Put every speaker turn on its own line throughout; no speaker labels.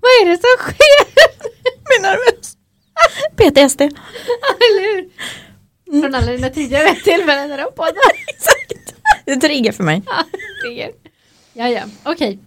Vad är det som sker?
Min nervös.
PTSD.
Eller hur?
Mm.
Från alla dina tidigare tillfällen när du har poddat.
Exakt. Det är trigger för mig.
Ja, det är- ja, ja. okej.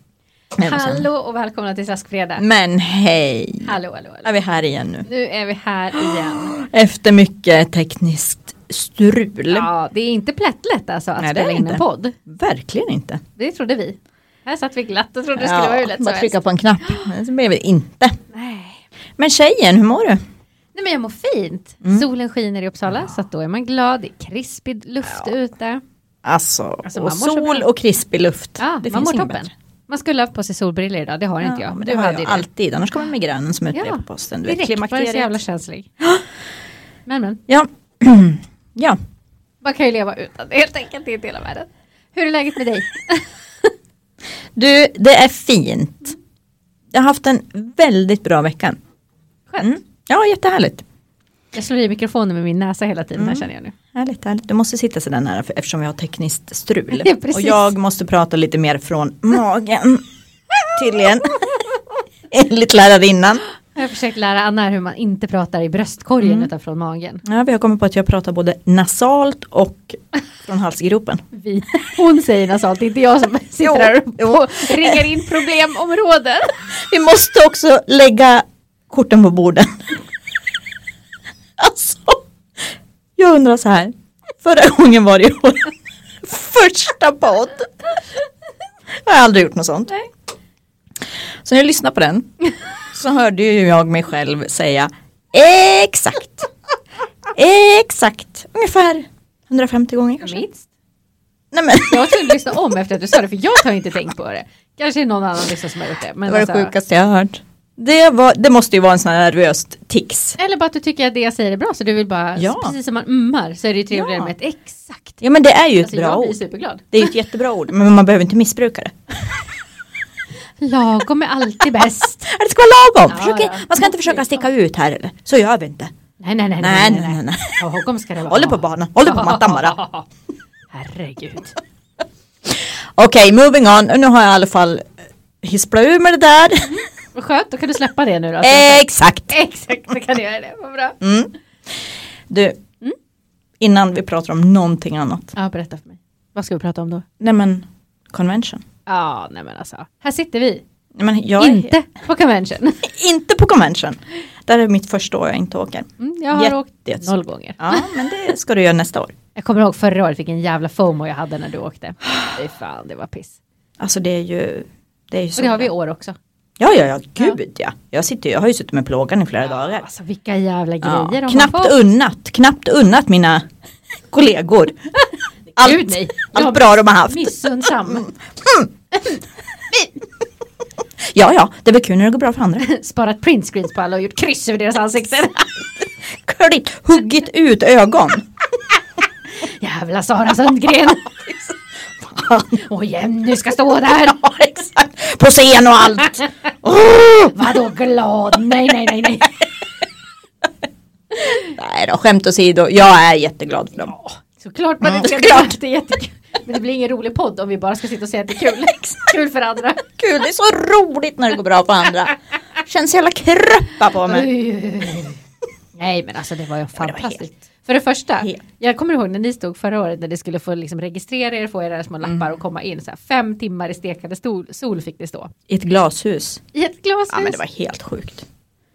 Men vad sen?
Hallå och välkomna till Slaskfredag.
Men hej.
Hallå, hallå, hallå.
Är vi här igen nu?
Nu är vi här igen.
Efter mycket tekniskt strul.
Ja, det är inte plättlätt alltså att
Nej, det är
spela
det
in en
inte.
podd.
Verkligen inte.
Det trodde vi. Här satt vi glatt och trodde det skulle vara hur lätt som
bara
helst.
trycka på en knapp. Men Så blev det inte.
Nej.
Men tjejen, hur mår du?
Nej, men jag mår fint.
Mm.
Solen skiner i Uppsala så att då är man glad. Det är krispig luft ute.
Alltså,
Alltså, man
och
mår så
sol
bra.
och krispig luft.
Ja,
det
man mår
inget
toppen. Man skulle ha haft på sig solbriller idag, det har inte jag.
men det har jag
det.
alltid, annars kommer migränen som ett brev på posten. Du vet,
direkt var det så
klimakteriet.
jävla känslig. Men men,
Ja. ja,
man kan ju leva utan det helt enkelt, det är en del av världen. Hur är läget med dig?
du, det är fint. Jag har haft en väldigt bra vecka.
Skönt.
Mm. Ja, jättehärligt.
Jag slår i mikrofonen med min näsa hela tiden, här känner jag nu.
Härligt, härligt. Du måste sitta sådär nära för, eftersom vi har tekniskt strul.
Ja, precis.
och jag måste prata lite mer från magen. Tydligen. Enligt lärarinnan.
Jag har försökt lära Anna här hur man inte pratar i bröstkorgen utan från magen.
Ja, vi har kommit på att jag pratar både nasalt och från halsgropen.
Vi. Hon säger nasalt, inte jag som sitter här och ringar in problemområden.
Vi måste också lägga korten på borden. Alltså, jag undrar så här. Förra gången var det ju vår första podd. Jag har aldrig gjort något sånt.
Nej.
Så när jag lyssnade på den så hörde ju jag mig själv säga exakt, exakt, ungefär 150 gånger kanske.
Minst.
Nej men,
Jag var tvungen att lyssna om efter att du sa det för jag har inte tänkt på det. Kanske är någon annan liksom som har gjort det. Men
det var det
alltså-
sjukaste jag har hört. Det, var, det måste ju vara en sån här nervöst tics.
Eller bara att du tycker att det jag säger är bra så du vill bara,
Ja.
precis som man ummar så är det ju trevligare
Ja.
med ett exakt.
Ja men det är ju ett
Alltså
bra
jag blir
ord.
superglad.
Det är ju ett jättebra ord, men man behöver inte missbruka det.
Lagom är alltid bäst.
Det ska vara lagom.
Ja,
Försök,
ja.
Man ska inte försöka sticka ut här eller? Så gör vi inte.
Nej nej nej
Nej, nej, nej, nej.
Lagom ska det vara.
Håller på banan, håller på mattan bara.
Herregud.
Okej, moving on. Nu har jag i alla fall hisplat ur med det där.
Vad skönt, då kan du släppa det nu då.
Eh. Exakt. Mm.
Exakt, då kan du göra det. Vad bra.
Du,
Mm.
innan vi pratar om någonting annat.
Ja, berätta för mig. Vad ska vi prata om då?
Nej men, convention.
Ja, nej men alltså. Här sitter vi.
Nej, men jag är
Inte på convention.
inte på convention. Det här är mitt första år jag inte åker.
Mm, jag har
Jätte-
åkt noll gånger.
Ja, men det ska du göra nästa år.
Jag kommer ihåg förra året vilken jävla fomo jag hade när du åkte. Fy fan, det var piss.
Alltså det är ju, det är ju så.
Och det har vi
bra.
i år också.
Ja, ja, ja, gud ja. Jag, sitter, ju- jag har ju suttit med plågan i flera dagar.
Alltså vilka jävla
Ja,
grejer de har
knappt
fått.
unnat, knappt unnat mina kollegor.
Gud,
Allt,
nej.
allt
Jag-
bra de har haft.
Missunnsam.
Ja, ja, det blir kul när det går bra för andra.
Sparat printscreens på alla och gjort kryss över deras ansikten.
Klipp, huggit ut ögon.
Jävla Sara Sundgren. Och Jenny ska stå där.
Ja, exakt. På scen och allt. Åh! Oh!
Vadå glad? Nej, nej, nej, nej.
Nej då, skämt åsido, jag är jätteglad för dem.
Såklart man inte
Mm, såklart.
Det är jättekul. Men det blir ingen rolig podd om vi bara ska sitta och säga att det är kul. Kul för andra.
Kul, det är så roligt när det går bra för andra. Känns hela kröppa på mig.
Nej men alltså det var ju
det var
fantastiskt.
helt-
för det första,
helt.
jag kommer ihåg när ni stod förra året när ni skulle få liksom registrera er, få era små lappar
Mm.
och komma in. Så här, fem timmar i stekande stol, sol fick det stå.
I ett glashus.
I ett glashus.
Ja, men det var helt sjukt.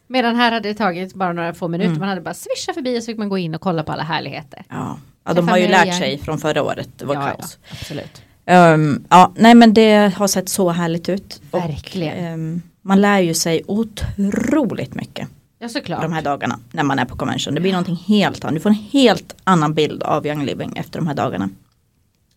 Medan här hade det tagit bara några få minuter.
Mm.
Man hade bara swishat förbi och så fick man gå in och kolla på alla härligheter.
Ja, ja de har ju lärt sig från förra året. Det var kaos.
Ja, absolut.
Ehm, ja, nej men det har sett så härligt ut. Och,
Verkligen.
ehm, man lär ju sig otroligt mycket
Ja såklart.
de här dagarna när man är på convention. Det blir någonting helt annat. Du får en helt annan bild av Young Living efter de här dagarna.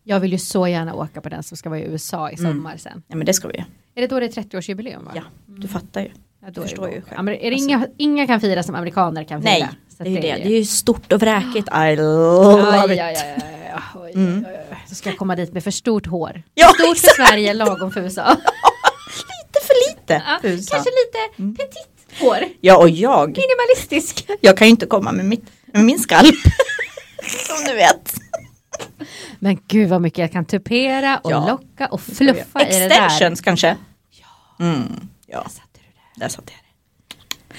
Jag vill ju så gärna åka på den som ska vara i USA i sommar sen.
Ja men det ska vi ju.
Är det då det är 30-årsjubileum? Va?
Mm. Ja, du fattar ju.
Ja, då
förstår
är det bara-
ju själv. Alltså-
Ja, men är det inga, inga kan fira som amerikaner kan fira.
Nej,
Så
det
att
är ju det. Det
ju-
är ju stort och vräkigt. I love
Aj, aj,
it.
aj, aj, aj, aj, oj, oj, oj, oj. Så ska jag komma dit med för stort hår.
Mm. Ja,
för stort för Sverige, lagom för USA.
Lite för Mm. lite.
Ja,
Tusan.
Kanske lite petit hår.
Ja och jag,
Minimalistisk.
jag kan ju inte komma med, mitt, med min skalp. Som du vet.
Men gud vad mycket jag kan tupera och
Ja.
locka och fluffa i det där.
Extensions kanske. Mm. Ja,
Där satte du det.
där satt jag.
Nu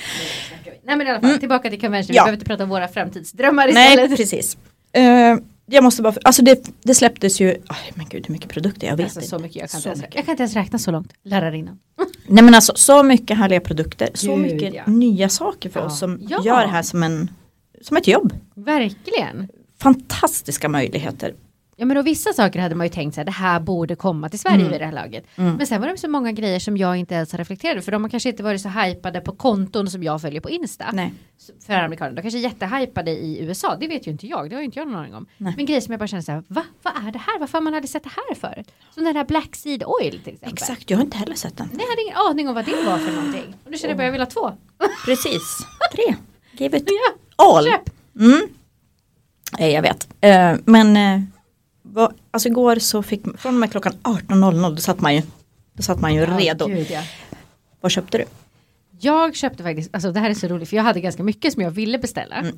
snackar vi. Nej men i alla fall, tillbaka till convention.
Mm. Ja.
Vi behöver inte prata om våra framtidsdrömmar
Nej,
istället.
precis. Eh, jag måste bara, alltså det, det släpptes ju, aj, men gud hur mycket produkter, jag vet
Alltså,
inte.
så mycket, jag kan,
Så
inte ens,
mycket.
jag kan inte ens räkna så långt. Lärarinnan.
Nej men alltså så mycket härliga produkter, så
Gud,
mycket
ja.
nya saker för
Ja.
oss som
Ja.
gör det här som, en, som ett jobb.
Verkligen.
Fantastiska möjligheter.
Ja men och vissa saker hade man ju tänkt så här, det här borde komma till Sverige
Mm.
vid det här laget. Men sen var det så många grejer som jag inte ens reflekterade för de har kanske inte varit så hypade på konton som jag följer på Insta.
Nej.
För amerikaner, de kanske är jättehypade i USA, det vet ju inte jag, det har ju inte jag någon aning om.
Nej.
Men grejer som jag bara känner så här, va, vad är det här, varför har man hade sett det här förut? Som den här Black Seed Oil till exempel.
Exakt, jag har inte heller sett den.
Nej, jag hade ingen aning om vad det var för någonting. Och nu känner jag bara, jag vill ha två.
Precis, tre. Give it
Ja,
all.
köp!
Mm. Nej, jag vet. Eh, men eh, vad, alltså igår så fick från och med klockan 18.00 då satt man ju, då satt man ju redo.
Ja, gud, ja.
Vad köpte du?
Jag köpte faktiskt, alltså det här är så roligt för jag hade ganska mycket som jag ville beställa.
Mm,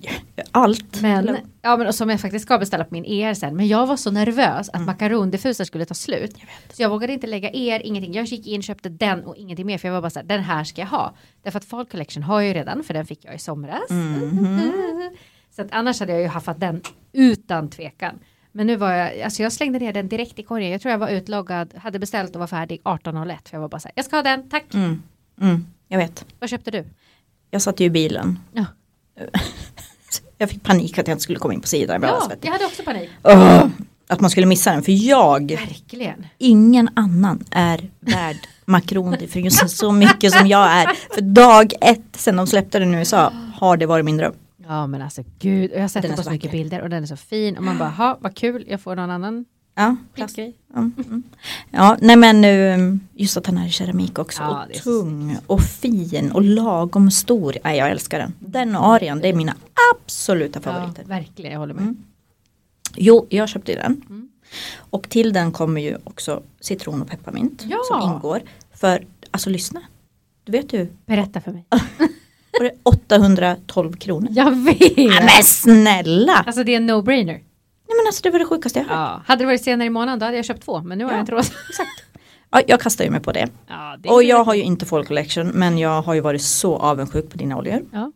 Allt.
Men, ja, men och som jag faktiskt ska beställa på min ER sen. Men jag var så nervös att makarondiffusen skulle ta slut. så jag vågade inte lägga ER, ingenting. Jag gick in, köpte den och ingenting mer. För jag var bara så här, den här ska jag ha. Därför att Fall Collection har jag ju redan, för den fick jag i somras. så att annars hade jag ju haffat den utan tvekan. Men nu var jag, alltså jag slängde ner den direkt i korgen. Jag tror jag var utloggad, hade beställt och var färdig 18.01. För jag var bara så här, jag ska ha den, tack.
Mm. Mm, jag vet.
Vad köpte du?
Jag satt ju i bilen.
Ja,
Jag fick panik att jag inte skulle komma in på sidan. Jag bara,
ja
alltså, vet du.
jag hade också panik.
Åh, att man skulle missa den. För jag,
Verkligen.
ingen annan är värd makrondiffusen så mycket som jag är. För dag ett sen de släppte den i USA har det varit min dröm.
Ja men alltså gud, och jag har sett
Den
den
är
på
så
så mycket
vacker.
bilder och den är så fin och man bara, ha vad kul, jag får någon annan
Ja, plast.
plastgrej.
Mm, mm. Ja, nej men eh, just att den här är keramik också.
Ja, det är så
och tung och fin och lagom stor. Nej, jag älskar den. Den och Arian, det är mina absoluta
Ja,
favoriter.
verkligen, jag håller med.
Mm. Jo, jag köpte ju den.
Mm.
Och till den kommer ju också citron och pepparmint
Ja.
som ingår. För, alltså lyssna. Du vet ju,
Berätta för mig.
var det 812 kronor?
Jag vet!
Nej men snälla!
Alltså det är en no-brainer.
Nej men alltså det var det sjukaste jag hört.
Ja. Hade det varit senare i månaden då hade jag köpt två, men nu har
Ja.
jag en tråd.
Ja, jag kastar ju mig på det.
Ja, det är
Och
så
jag
lätt.
har ju inte Fall Collection men jag har ju varit så avundsjuk på dina oljor.
ja.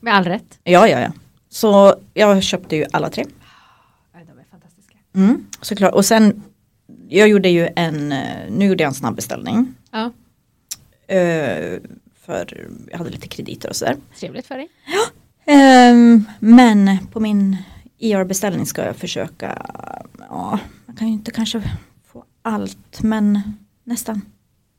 Med all rätt.
Ja, ja, ja. Så jag köpte ju alla tre.
Ja, De är fantastiska.
Mm, såklart. Och sen, jag gjorde ju en, eh, nu gjorde jag en snabbbeställning.
Ja,
Eh, för jag hade lite krediter och sådär.
trevligt för dig.
Ehm, men på min IR-beställning ska jag försöka, ja, man kan ju inte kanske få allt, men nästan.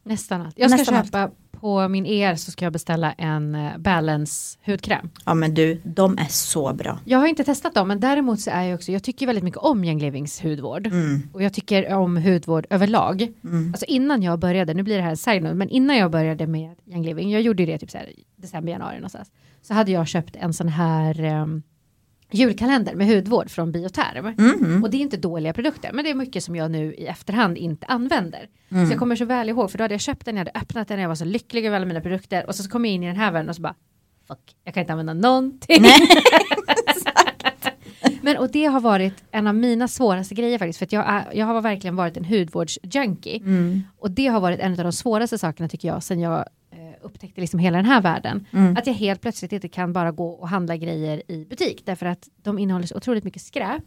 Nästan allt. Jag ska
Nästan allt.
köpa på min ER så ska jag beställa en eh, balance hudkräm.
Ja men du, de är så bra.
Jag har inte testat dem, men däremot så är jag också, jag tycker väldigt mycket om Young Livings hudvård.
Mm,
Och jag tycker om hudvård överlag.
mm,
Alltså innan jag började, nu blir det här en side note, men innan jag började med Young Living, jag gjorde ju det typ så här i december, januari någonstans. Så hade jag köpt en sån här ehm, julkalender med hudvård från Bioterm.
mm, mm,
Och det är inte dåliga produkter, men det är mycket som jag nu i efterhand inte använder. Så
Mm.
jag kommer så väl ihåg, för då hade jag köpt den, jag hade öppnat den, jag var så lycklig över alla mina produkter. Och så kom jag in i den här världen och så bara, fuck, jag kan inte använda någonting. men och det har varit en av mina svåraste grejer faktiskt, för att jag, är, jag har verkligen varit en hudvårdsjunkie.
mm,
Och det har varit en av de svåraste sakerna tycker jag sen jag eh, upptäckte liksom hela den här världen.
mm.
Att jag helt plötsligt inte kan bara gå och handla grejer i butik därför att de innehåller så otroligt mycket skräp.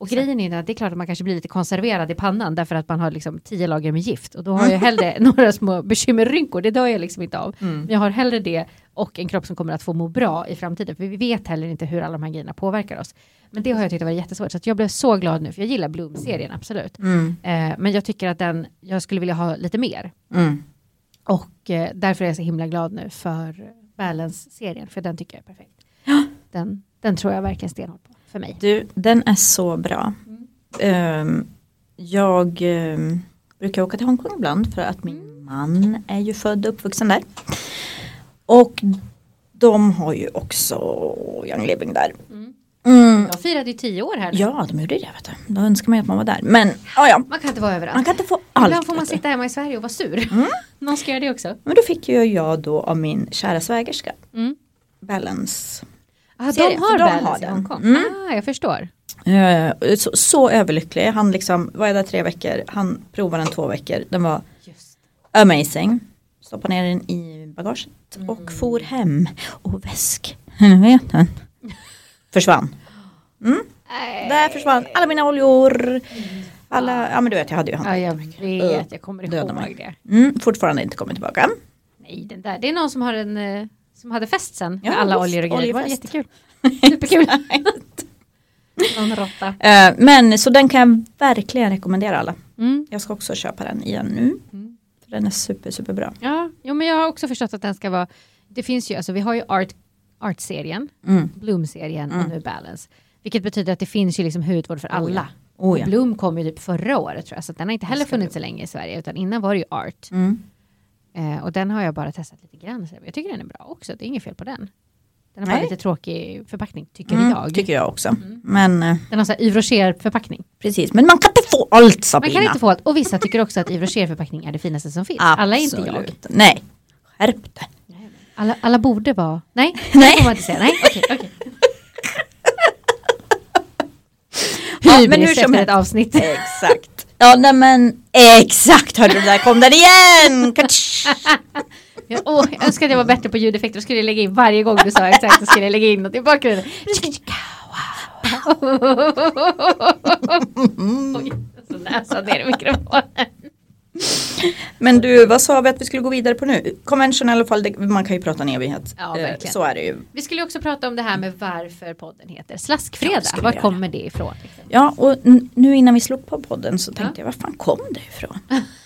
Och
Exakt.
grejen är ju att det är klart att man kanske blir lite konserverad i pannan därför att man har liksom tio lager med gift och då har jag hellre några små bekymmerrynkor, det dör jag liksom inte av. Men jag har hellre det och en kropp som kommer att få må bra i framtiden för vi vet heller inte hur alla de här grejerna påverkar oss. Men det har jag tyckt har varit jättesvårt så att jag blev så glad nu för jag gillar Bloom-serien absolut.
mm,
Eh, men jag tycker att den, jag skulle vilja ha lite mer.
mm.
Och eh, därför är jag så himla glad nu för Balance-serien, för den tycker jag är perfekt. Den, den tror jag verkligen stenhårt på, för mig.
Du, den är så bra. Ehm, jag ehm, brukar åka till Hongkong ibland för att min man är ju född och uppvuxen där. Och de har ju också Young Living där. Mm.
Jag firade ju tio år här nu.
Ja, de gjorde det. Vet du. Då önskar man ju att man var där. Men ja, ja,
Man kan inte vara
man
överallt.
kan inte få allt.
Ibland får man
vet du.
sitta hemma i Sverige och vara sur. Någon ska göra det också.
Men då fick ju jag då av min kära svägerska
Mm.
Balance.
Ah, de
Ser jag, för
har
de
Balance
har
i
den.
Hongkong. Ah, jag förstår.
Eh, så, så överlycklig. Han liksom var jag där tre veckor. Han provade den två veckor. Den var
Just.
amazing. stoppade ner den i bagaget och
Mm.
for hem. Och väskheten försvann. Mm.
Nej. Mm.
Där försvann alla mina oljor. Alla, ja men du vet jag hade ju hand.
Ja, jag vet, jag kommer
Döda mig.
ihåg det.
Mm, fortfarande inte kommit tillbaka.
Nej, den där. Det är någon som har en eh, som hade fest sen med
Ja,
alla
visst,
oljor och grejer. Det var
oljefest.
jättekul. Superkul. någon råtta.
Eh, Men så den kan jag verkligen rekommendera alla.
Mm.
Jag ska också köpa den igen nu.
Mm.
För den är super, super bra.
Ja, jo, men jag har också förstått att den ska vara. Det finns ju, alltså vi har ju art, art-serien,
Mm.
Bloom-serien och
Mm.
nu Balance. Vilket betyder att det finns ju liksom hudvård för
Oh, ja.
alla.
Oh, ja.
Bloom kom ju typ förra året tror jag, så att den har inte heller
Älskar
funnits så länge i Sverige, utan innan var det ju art.
Mm.
Eh, och den har jag bara testat lite grann. Så jag tycker den är bra också, det är inget fel på den. Den har bara
Nej.
lite tråkig förpackning, tycker
Mm,
jag.
Tycker jag också.
Mm.
Men eh,
Den har så här Yves Rocher-förpackning.
precis, men man kan inte få allt
Man
Sabina.
kan inte få allt. Och vissa tycker också att Yves Rocher-förpackning är det finaste som finns. Alla är inte jag.
Absolut. Nej, skärp dig.
Alla, alla borde vara... Nej,
Nej.
det får man inte säga. Nej, okej, okej.
Ja, men
Hybris
hur som
efter ett
helst.
avsnitt.
Exakt. Ja, nej men exakt hörde du, där kom den igen! Katsch!
Jag, åh, jag önskar att jag var bättre på ljudeffekter. Då skulle jag lägga in varje gång du sa exakt. Då skulle jag lägga in något i bakgrunden.
Mm.
Oj, så näsan ner i mikrofonen.
Men du, vad sa vi att vi skulle gå vidare på nu? Convention i alla fall, det, man kan ju prata en evighet.
Ja,
Eh,
verkligen.
Så är det ju.
Vi skulle ju också prata om det här med varför podden heter Slaskfredag.
Ja, skulle vi
Var
göra.
kommer det ifrån? Liksom?
Ja, och n- nu innan vi slog på podden så tänkte jag, var fan kom det ifrån?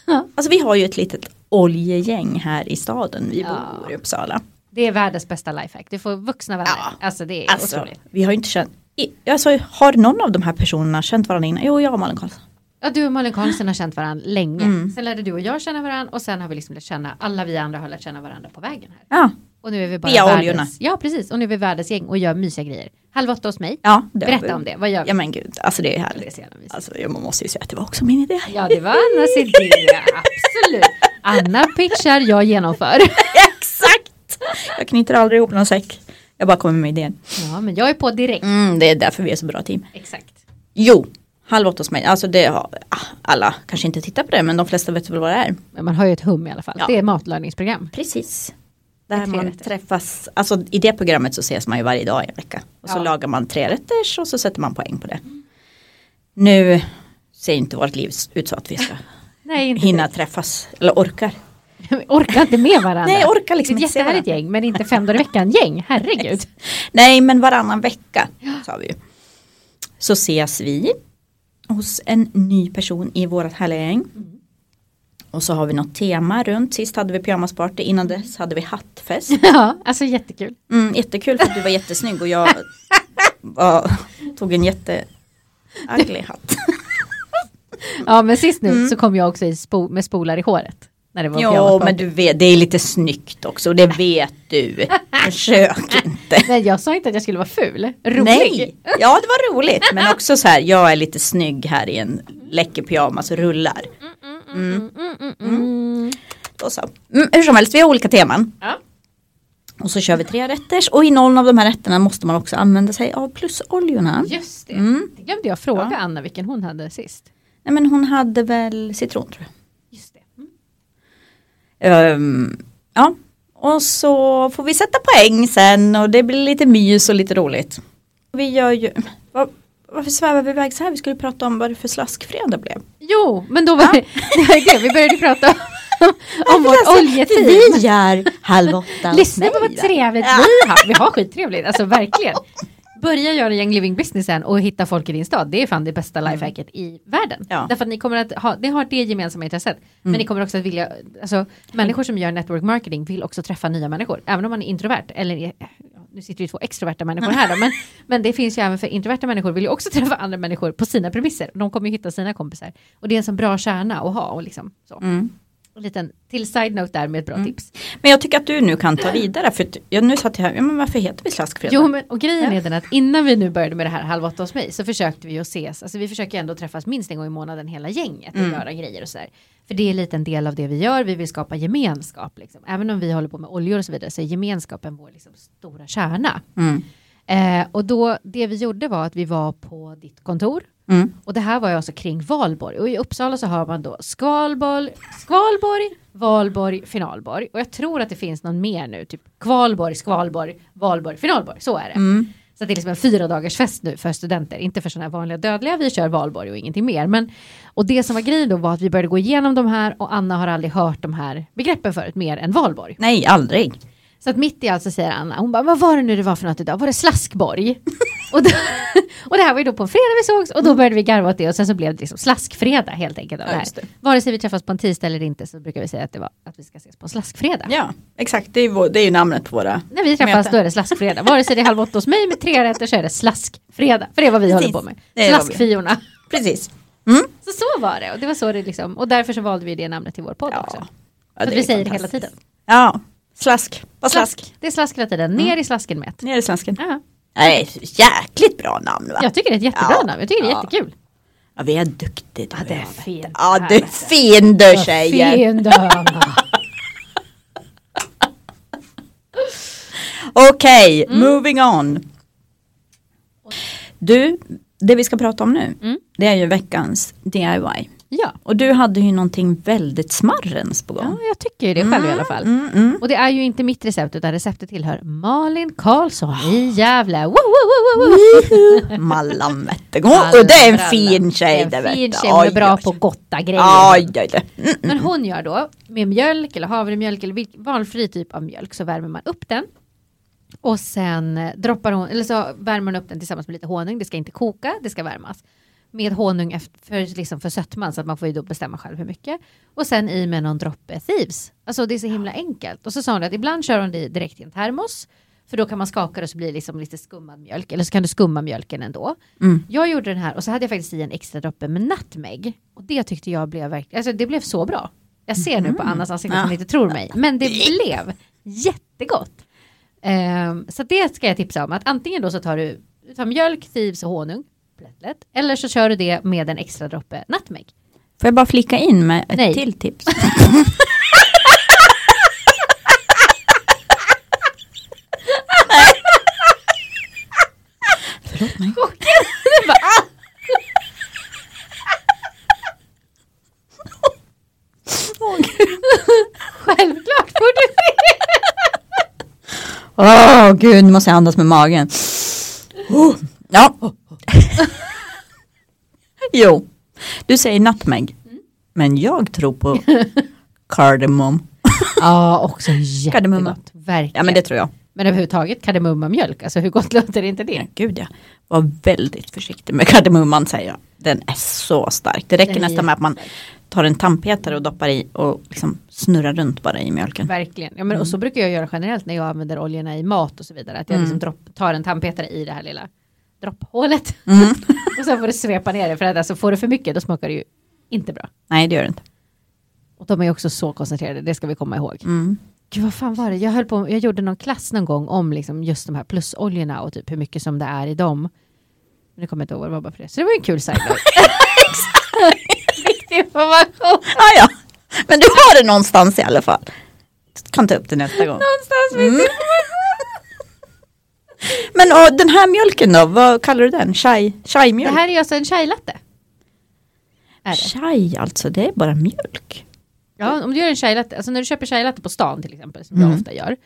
Alltså vi har ju ett litet oljegäng här i staden, vi
Ja.
bor i Uppsala.
Det är världens bästa lifehack. Du får vuxna vänner.
Ja.
Alltså det är
Alltså,
otroligt.
vi har ju inte känt, i- alltså har någon av de här personerna känt varandra innan? Jo, jag och Malin Karlsson.
Ja, du och Malin Karlsson har känt varandra länge.
Mm.
Sen lärde du och jag känna varandra och sen har vi liksom lärt känna alla vi andra har lärt känna varandra på vägen här.
Ja,
Och nu är vi bara
Via
världens,
oljorna.
Ja, precis. Och nu är vi världens gäng och gör mysiga grejer. Halv åtta hos mig.
ja det har vi.
Berätta om det. Vad gör vi?
Ja men gud, alltså det är
Det är
härligt.
så jävla mysigt.
Alltså jag måste ju säga att det var också min idé.
Ja, det var Annas idé. Absolut. Anna pitchar, jag genomför.
Exakt! Jag knyter aldrig ihop någon säck. Jag bara kommer med idén.
Ja, men jag är på direkt.
Mm, det är därför vi är så bra team.
Exakt.
Jo, Halv åtta hos mig. Alltså det har ah, alla kanske inte tittar på det men de flesta vet väl vad det är.
Men man har ju ett hum i alla fall.
Ja.
Det är matlagningsprogram.
Precis. Där
Tre
man
rätter.
träffas, alltså i det programmet så ses man ju varje dag i en vecka. Och så
Ja.
lagar man tre rätter och så sätter man poäng på det. Nu ser inte vårt liv ut så att vi ska
Nej, inte
hinna träffas eller orkar.
Vi orkar inte med varandra.
Nej, orkar liksom
det är
inte
ett
se
jättehärligt gäng, men inte fem dagar i veckan-gäng. Herregud.
Nej men varannan vecka sa vi ju. Så ses vi hos en ny person i vårat härliga gäng.
Mm.
Och så har vi något tema runt. Sist hade vi pyjamasparty, innan dess hade vi hattfest.
Ja, alltså jättekul.
Mm, jättekul för att du var jättesnygg och jag var, tog en jätte ugly hatt.
Ja, men sist nu
Mm.
så kom jag också i spo- med spolar i håret. När det var
Jo
pyjamasparty.
men du vet, det är lite snyggt också och det vet du. Försök inte.
Nej, jag sa inte att jag skulle vara ful. Rolig.
Nej, ja det var roligt men också så här, jag är lite snygg här i en läcker pyjamas och rullar.
Mm, mm, mm.
Då så. Mm, hur som helst, vi har olika teman.
Ja.
Och så kör vi tre rätters och i någon av de här rätterna måste man också använda sig av plusoljorna.
Just det.
Mm.
Det glömde jag fråga
Ja.
Anna vilken hon hade sist.
Nej men hon hade väl citron tror jag.
Just det. Mm.
Ehm, ja, och så får vi sätta poäng sen och det blir lite mys och lite roligt. Vi gör ju, var, varför svävar vi iväg så här? Vi skulle prata om vad det för slaskfredag blev.
Jo, men då var det, det var det vi började prata om, om vårt oljeteam.
Alltså, Vi gör halv åtta
Lyssna på vad trevligt vi har. Vi har skittrevligt, alltså verkligen. Börja göra Young Living Businessen och hitta folk i din stad. Det är fan det bästa lifehacket i världen.
Mm. Ja. Mm.
Därför att ni kommer att ha, ni har det gemensamma intresset. Men ni kommer också att vilja, alltså människor som gör network marketing vill också träffa nya människor. Även om man är introvert, eller är- ja, nu sitter vi två extroverta människor här då, men, men det finns ju även för introverta människor vill ju också träffa andra människor på sina premisser. De kommer ju hitta sina kompisar. Och det är en sån bra kärna att ha och liksom så.
Mm.
En liten till side note där med ett bra tips.
Men jag tycker att du nu kan ta vidare för att, ja, nu satt jag här, ja, men varför heter vi slaskfredag?
Jo men och grejen är den att innan vi nu började med det här halv åtta hos mig så försökte vi ju ses, alltså vi försöker ändå träffas minst en gång i månaden hela gänget och göra grejer och sådär. För det är lite en del av det vi gör, vi vill skapa gemenskap liksom. Även om vi håller på med oljor och så vidare så är gemenskapen vår liksom, stora kärna.
Mm.
Eh, och då, det vi gjorde var att vi var på ditt kontor.
Mm.
Och det här var ju alltså kring valborg. Och i Uppsala så har man då skvalborg, skvalborg, valborg, finalborg. Och jag tror att det finns någon mer nu, typ kvalborg, skvalborg, valborg, finalborg. Så är det.
Mm.
Så att det är liksom en fyra dagars fest nu för studenter, inte för sådana här vanliga dödliga, vi kör valborg och ingenting mer. Men, och det som var grejen då var att vi började gå igenom de här och Anna har aldrig hört de här begreppen förut mer än valborg.
Nej, aldrig.
Så att mitt i allt så säger Anna, hon bara, vad var det nu det var för något idag? Var det slaskborg? och, då, och det här var ju då på en fredag vi sågs och då började vi garva åt det och sen så blev det liksom slaskfredag helt enkelt. Av det
Mm. Ja,
här.
just det.
Vare sig vi träffas på en tisdag eller inte så brukar vi säga att det var att vi ska ses på en slaskfredag.
Ja, exakt. Det är, vår, det är ju namnet på våra.
När vi träffas
Möte.
då är det slaskfredag. Vare sig det är halv åtta hos mig med tre rätter så är det slaskfredag. För det är vad vi
Precis.
håller på med.
Det är vad vi-
Slaskfiorna.
Precis. Mm.
Så så var det och det var så det liksom. Och därför så valde vi det namnet till vår podd också.
Ja. Ja,
För att
är
vi säger det hela
fantastiskt.
tiden.
Ja, slask. Vad slask. Mm.
Det är slask hela tiden. Ner i slasken med. ett.
Ner i slasken.
Ja.
Nej, jäkligt bra namn va? Ja,
Jag tycker det är ett jättebra
Ja.
namn. Jag tycker det är
Ja.
jättekul.
vi är duktiga. Ja,
det är fint.
Ja, du är fin du tjejer.
Fin döma.
Okej, moving on. Du, det vi ska prata om nu,
Mm.
det är ju veckans DIY.
Ja.
Och du hade ju någonting väldigt smarrens på gång.
ja, jag tycker ju det själv i alla fall.
Mm, mm.
Och det är ju inte mitt recept utan receptet tillhör Malin Karlsson i Gävle. Woo, woo, woo, woo, woo.
Mallan vet du. Åh, Och det är en
Alla.
fin tjej.
Det är en
vet
fin
du.
tjej, hon är
Oj,
bra
oj.
på gotta grejer.
Aj, aj, aj. Mm.
Men hon gör då med mjölk eller havremjölk eller vilk- valfri typ av mjölk så värmer man upp den. Och sen eh, droppar hon, eller så värmer hon upp den tillsammans med lite honung. Det ska inte koka, det ska värmas. Med honung efter, för, liksom för sötman så att man får ju då bestämma själv hur mycket. Och sen i med någon droppe thieves. Alltså det är så himla enkelt. Och så sa hon att ibland kör hon det i direkt i en termos. För då kan man skaka det och så blir det liksom lite skummad mjölk. Eller så kan du skumma mjölken ändå.
Mm.
Jag gjorde den här och så hade jag faktiskt i en extra droppe med nutmeg. Och det tyckte jag blev verkligen, alltså det blev så bra. Jag ser nu på Annas ansikte att hon
Mm. Ja.
inte tror mig. Men det blev jättegott. Ehm, så det ska jag tipsa om. Att antingen då så tar du, du tar mjölk, thieves och honung. Lätt, lätt. Eller så kör du det med en extra droppe nutmeg.
Får jag bara flika in med ett
Nej.
till tips? Förlåt mig.
Självklart får du det.
Åh gud, nu måste jag andas med magen. Oh, ja. jo, du säger nutmeg. Men jag tror på kardemum.
Ja, också
Kardemumma.
jättegott. Verkligen.
Ja men det tror jag.
Men överhuvudtaget kardemummamjölk, alltså hur gott låter inte det?
Gud ja. Var väldigt försiktig med kardemumman säger jag. Den är så stark. Det räcker
Den är
nästan med att man tar en tandpetare och doppar i och liksom snurrar runt bara i mjölken.
Verkligen. Ja, men,
Mm.
Och så brukar jag göra generellt när jag använder oljorna i mat och så vidare. Att jag liksom dropp, tar en tandpetare i det här lilla dropphålet.
Mm.
och sen får du svepa ner det. För att alltså, får du för mycket då smakar det ju inte bra.
Nej det gör det inte.
Och de är ju också så koncentrerade, det ska vi komma ihåg.
Mm.
Gud vad fan var det? Jag, höll på, jag gjorde någon klass någon gång om liksom just de här plusoljorna och typ hur mycket som det är i dem. Men det kommer jag inte ihåg vad det var bara för det. Så det var ju en kul side note. Viktig information.
Ah, ja. Men du har det någonstans i alla fall. Kan ta upp det nästa gång.
Någonstans
Mm. Men och, den här mjölken då, vad kallar du den? Chai,
Det
chai-mjölk?
här är ju alltså en chai-latte. Är det?
Chai alltså, det är bara mjölk.
Ja, om du gör en chai-latte, alltså när du köper chai-latte på stan till exempel, som jag
Mm.
ofta gör.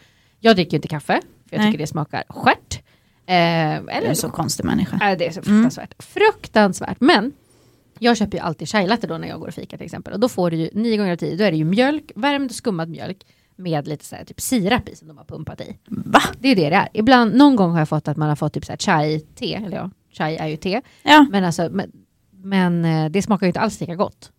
Jag dricker ju inte kaffe, för jag
Nej.
tycker det smakar stjärt. Eh, eller
Du är en så konstig människa.
Ja, Äh, det är så fruktansvärt. Mm. Fruktansvärt. Men jag köper ju alltid chai-latte då när jag går och fikar till exempel. Och då får du ju nio gånger av tio, då är det ju mjölk, värmd och skummad mjölk med lite så här typ sirap i som de har pumpat i.
Va?
Det är ju det det är. Ibland, någon gång har jag fått att man har fått typ så här chai-te, eller ja, chai är ju te.
Ja,
Men alltså, men, men eh, det smakar ju inte alls lika gott.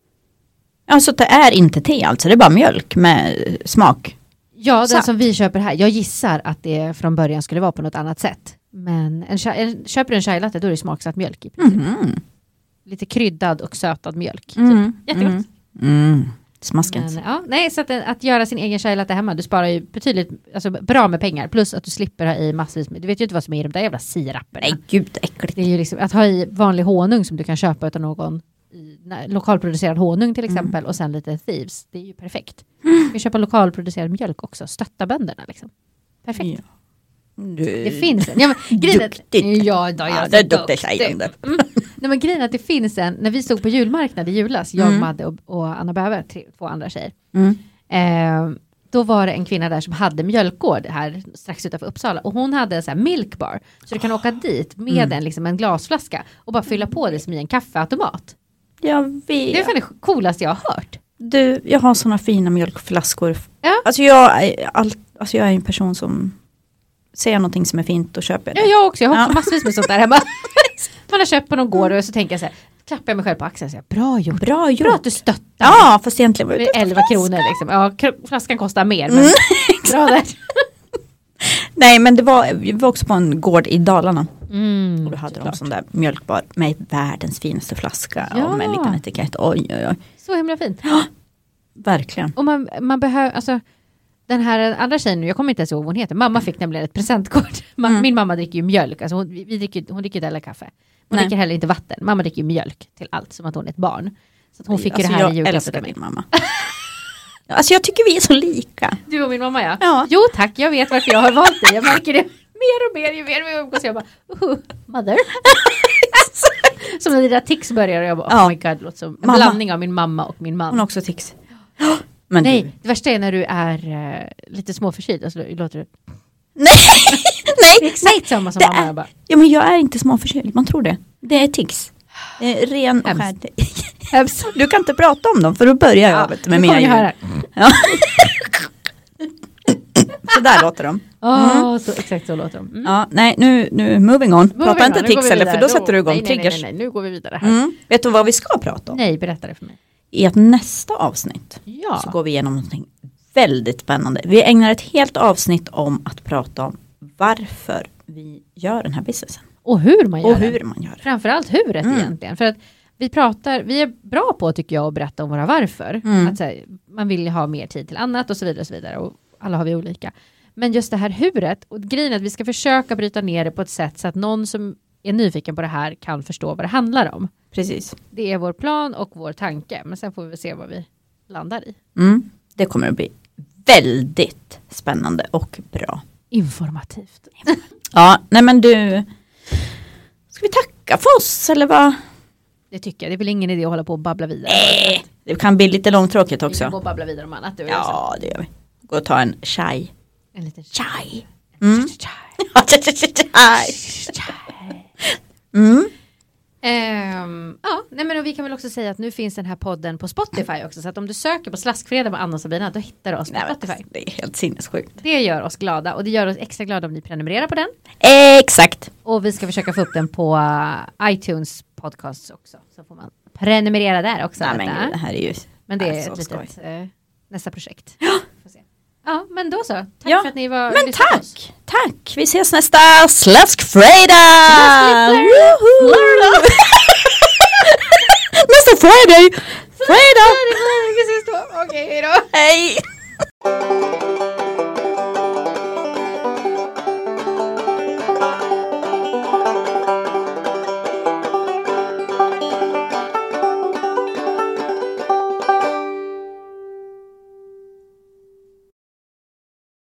alltså det är inte te alltså, det är bara mjölk med eh, smak.
Ja, den
Sant.
som vi köper här. Jag gissar att det från början skulle vara på något annat sätt. Men en, chai- en, köper du en chai-latte då är det smaksatt mjölk i princip. Lite kryddad och sötad mjölk.
Mhm. Mm.
Typ. Jättegott.
Mm. Mm. Smaskigt.
Men, ja, nej, så att, att göra sin egen chai-latte hemma, du sparar ju betydligt alltså, bra med pengar. Plus att du slipper ha i massvis med, du vet ju inte vad som är i de där jävla siraperna.
Nej gud äckligt.
Det är ju liksom att ha i vanlig honung som du kan köpa utan någon i, när, lokalproducerad honung till
Mm.
exempel och sen lite thieves. Det är ju perfekt. Vi köper lokalproducerad mjölk också, stötta bönderna liksom. Perfekt.
Ja.
Det finns en. Ja, men, grejen är-
Mm. Duktigt.
Ja, då, jag
Ja,
är
det är
så
duktig tjej. hon där.
Nej men grejen är att det finns en, när vi stod på julmarknad i julas, jag,
Mm.
Madde och, och Anna Bäver, tre, två andra tjejer.
Mm.
Eh, då var det en kvinna där som hade mjölkgård här strax utanför Uppsala och hon hade en sån här milkbar. Så du kan åka dit med en, liksom en glasflaska och bara fylla på det som i en kaffeautomat.
Jag
Det är
vet.
fan det coolaste jag har hört.
Du, jag har sådana fina mjölkflaskor.
Ja.
Alltså, jag är all, alltså jag är en person som ser någonting som är fint och köper det.
Ja, jag också, jag har också
Ja.
massvis med sånt där hemma. Man har köpt på någon gård och så tänker jag så här, klappar jag mig själv på axeln och säger bra gjort,
Bra
bra att
gjort.
du stöttar.
Ja, fast egentligen var
Det
det
är 11 kronor liksom. Ja, k- flaskan kostar mer. Men bra där.
Nej men det var, vi var också på en gård i Dalarna.
Mm.
Och då hade de sån där mjölkbar med världens finaste flaska.
Ja.
Och med en liten etikett. Oj oj oj.
Så himla fint.
Verkligen.
Och man, man behöver, alltså den här andra tjejen, nu, jag kommer inte ens ihåg vad hon heter, mamma fick nämligen ett presentkort. Ma-
Mm.
Min mamma dricker ju mjölk, alltså hon, vi vi dricker, hon dricker inte heller kaffe. Hon
Nej.
dricker heller inte vatten, mamma dricker ju mjölk till allt som att hon är ett barn. Så att hon fick
alltså,
ju det här i
jag
julklapp
älskar
av mig.
din mamma. alltså jag tycker vi är så lika.
Du och min mamma ja.
Ja.
Jo tack, jag vet varför jag har valt dig. Jag märker det mer och mer ju mer vi umgås. Jag bara, oh, mother. som när dina tics börjar och jag bara, oh
Ja.
my god, det låter som en
Mamma.
blandning av min mamma och min man.
Hon har också tics. Men du.
Nej, det värsta är när du är eh, lite småförkyld, alltså, då låter du
Nej, nej.
exakt samma som
det
mamma.
är-
Jag bara,
Ja men jag är inte småförkyld, man tror det. Det är tics. Det är ren och skär.
Hemskt. Hemskt.
Du kan inte prata om dem för då börjar jag vet, du, med
nu
mina Mm.
kommer jag
ljud.
höra.
Så där låter de.
Åh, så, exakt så låter de. Mm.
Ja, nej nu, nu moving on.
Moving
Prata
on,
inte
nu går vi
tics eller för
vidare.
då sätter du igång
nej, nej,
triggers.
nej, nej, nej, nu går vi vidare här.
Mm. Vet du vad vi ska prata om?
Nej, berätta det för mig.
I att nästa avsnitt
Ja.
så går vi igenom någonting väldigt spännande. Vi ägnar ett helt avsnitt om att prata om varför vi gör den här businessen.
Och hur man gör
Och
det.
hur man gör det.
Framförallt huret
Mm.
egentligen. För att vi pratar, vi är bra på tycker jag att berätta om våra varför.
Mm.
Att så här, man vill ju ha mer tid till annat och så vidare och så vidare. Och alla har vi olika. Men just det här huret och grejen är att vi ska försöka bryta ner det på ett sätt så att någon som är nyfiken på det här kan förstå vad det handlar om.
Precis.
Det är vår plan och vår tanke, men sen får vi väl se vad vi landar i.
Mm. Det kommer att bli väldigt spännande och bra.
Informativt.
Ja, nej men du. Ska vi tacka för oss eller vad?
Det tycker jag. Det är väl ingen idé att hålla på och babbla vidare.
Nej, Eh, det kan bli lite långtråkigt
Vi kan gå
också.
och babbla vidare om annat. Du och jag sen.
Ja, det gör vi. Gå och ta en chai.
En liten tja.
Chai. Mm. Chai. Mm.
Ehm, ja, nej men och vi kan väl också säga att nu finns den här podden på Spotify också. Så att om du söker på Slaskfredag med Anna och Sabina, då hittar du oss på
Nej, men,
Spotify.
det är helt sinnessjukt.
Det gör oss glada och det gör oss extra glada om ni prenumererar på den.
Eh, Exakt.
Och vi ska försöka få upp den på eh, iTunes podcasts också. Så får man prenumerera där också. vet
Nej, men
du.
gud, det här är ju...
Men det är
Alltså,
ett
skoj.
litet eh, nästa projekt. Ja. Får se. ja, men då så. Tack
Ja,
för att ni var
Men
lyssnade på oss.
tack! Tack! Vi ses nästa Slaskfredag!
Slaskfredag!
Woho! nästa fredag!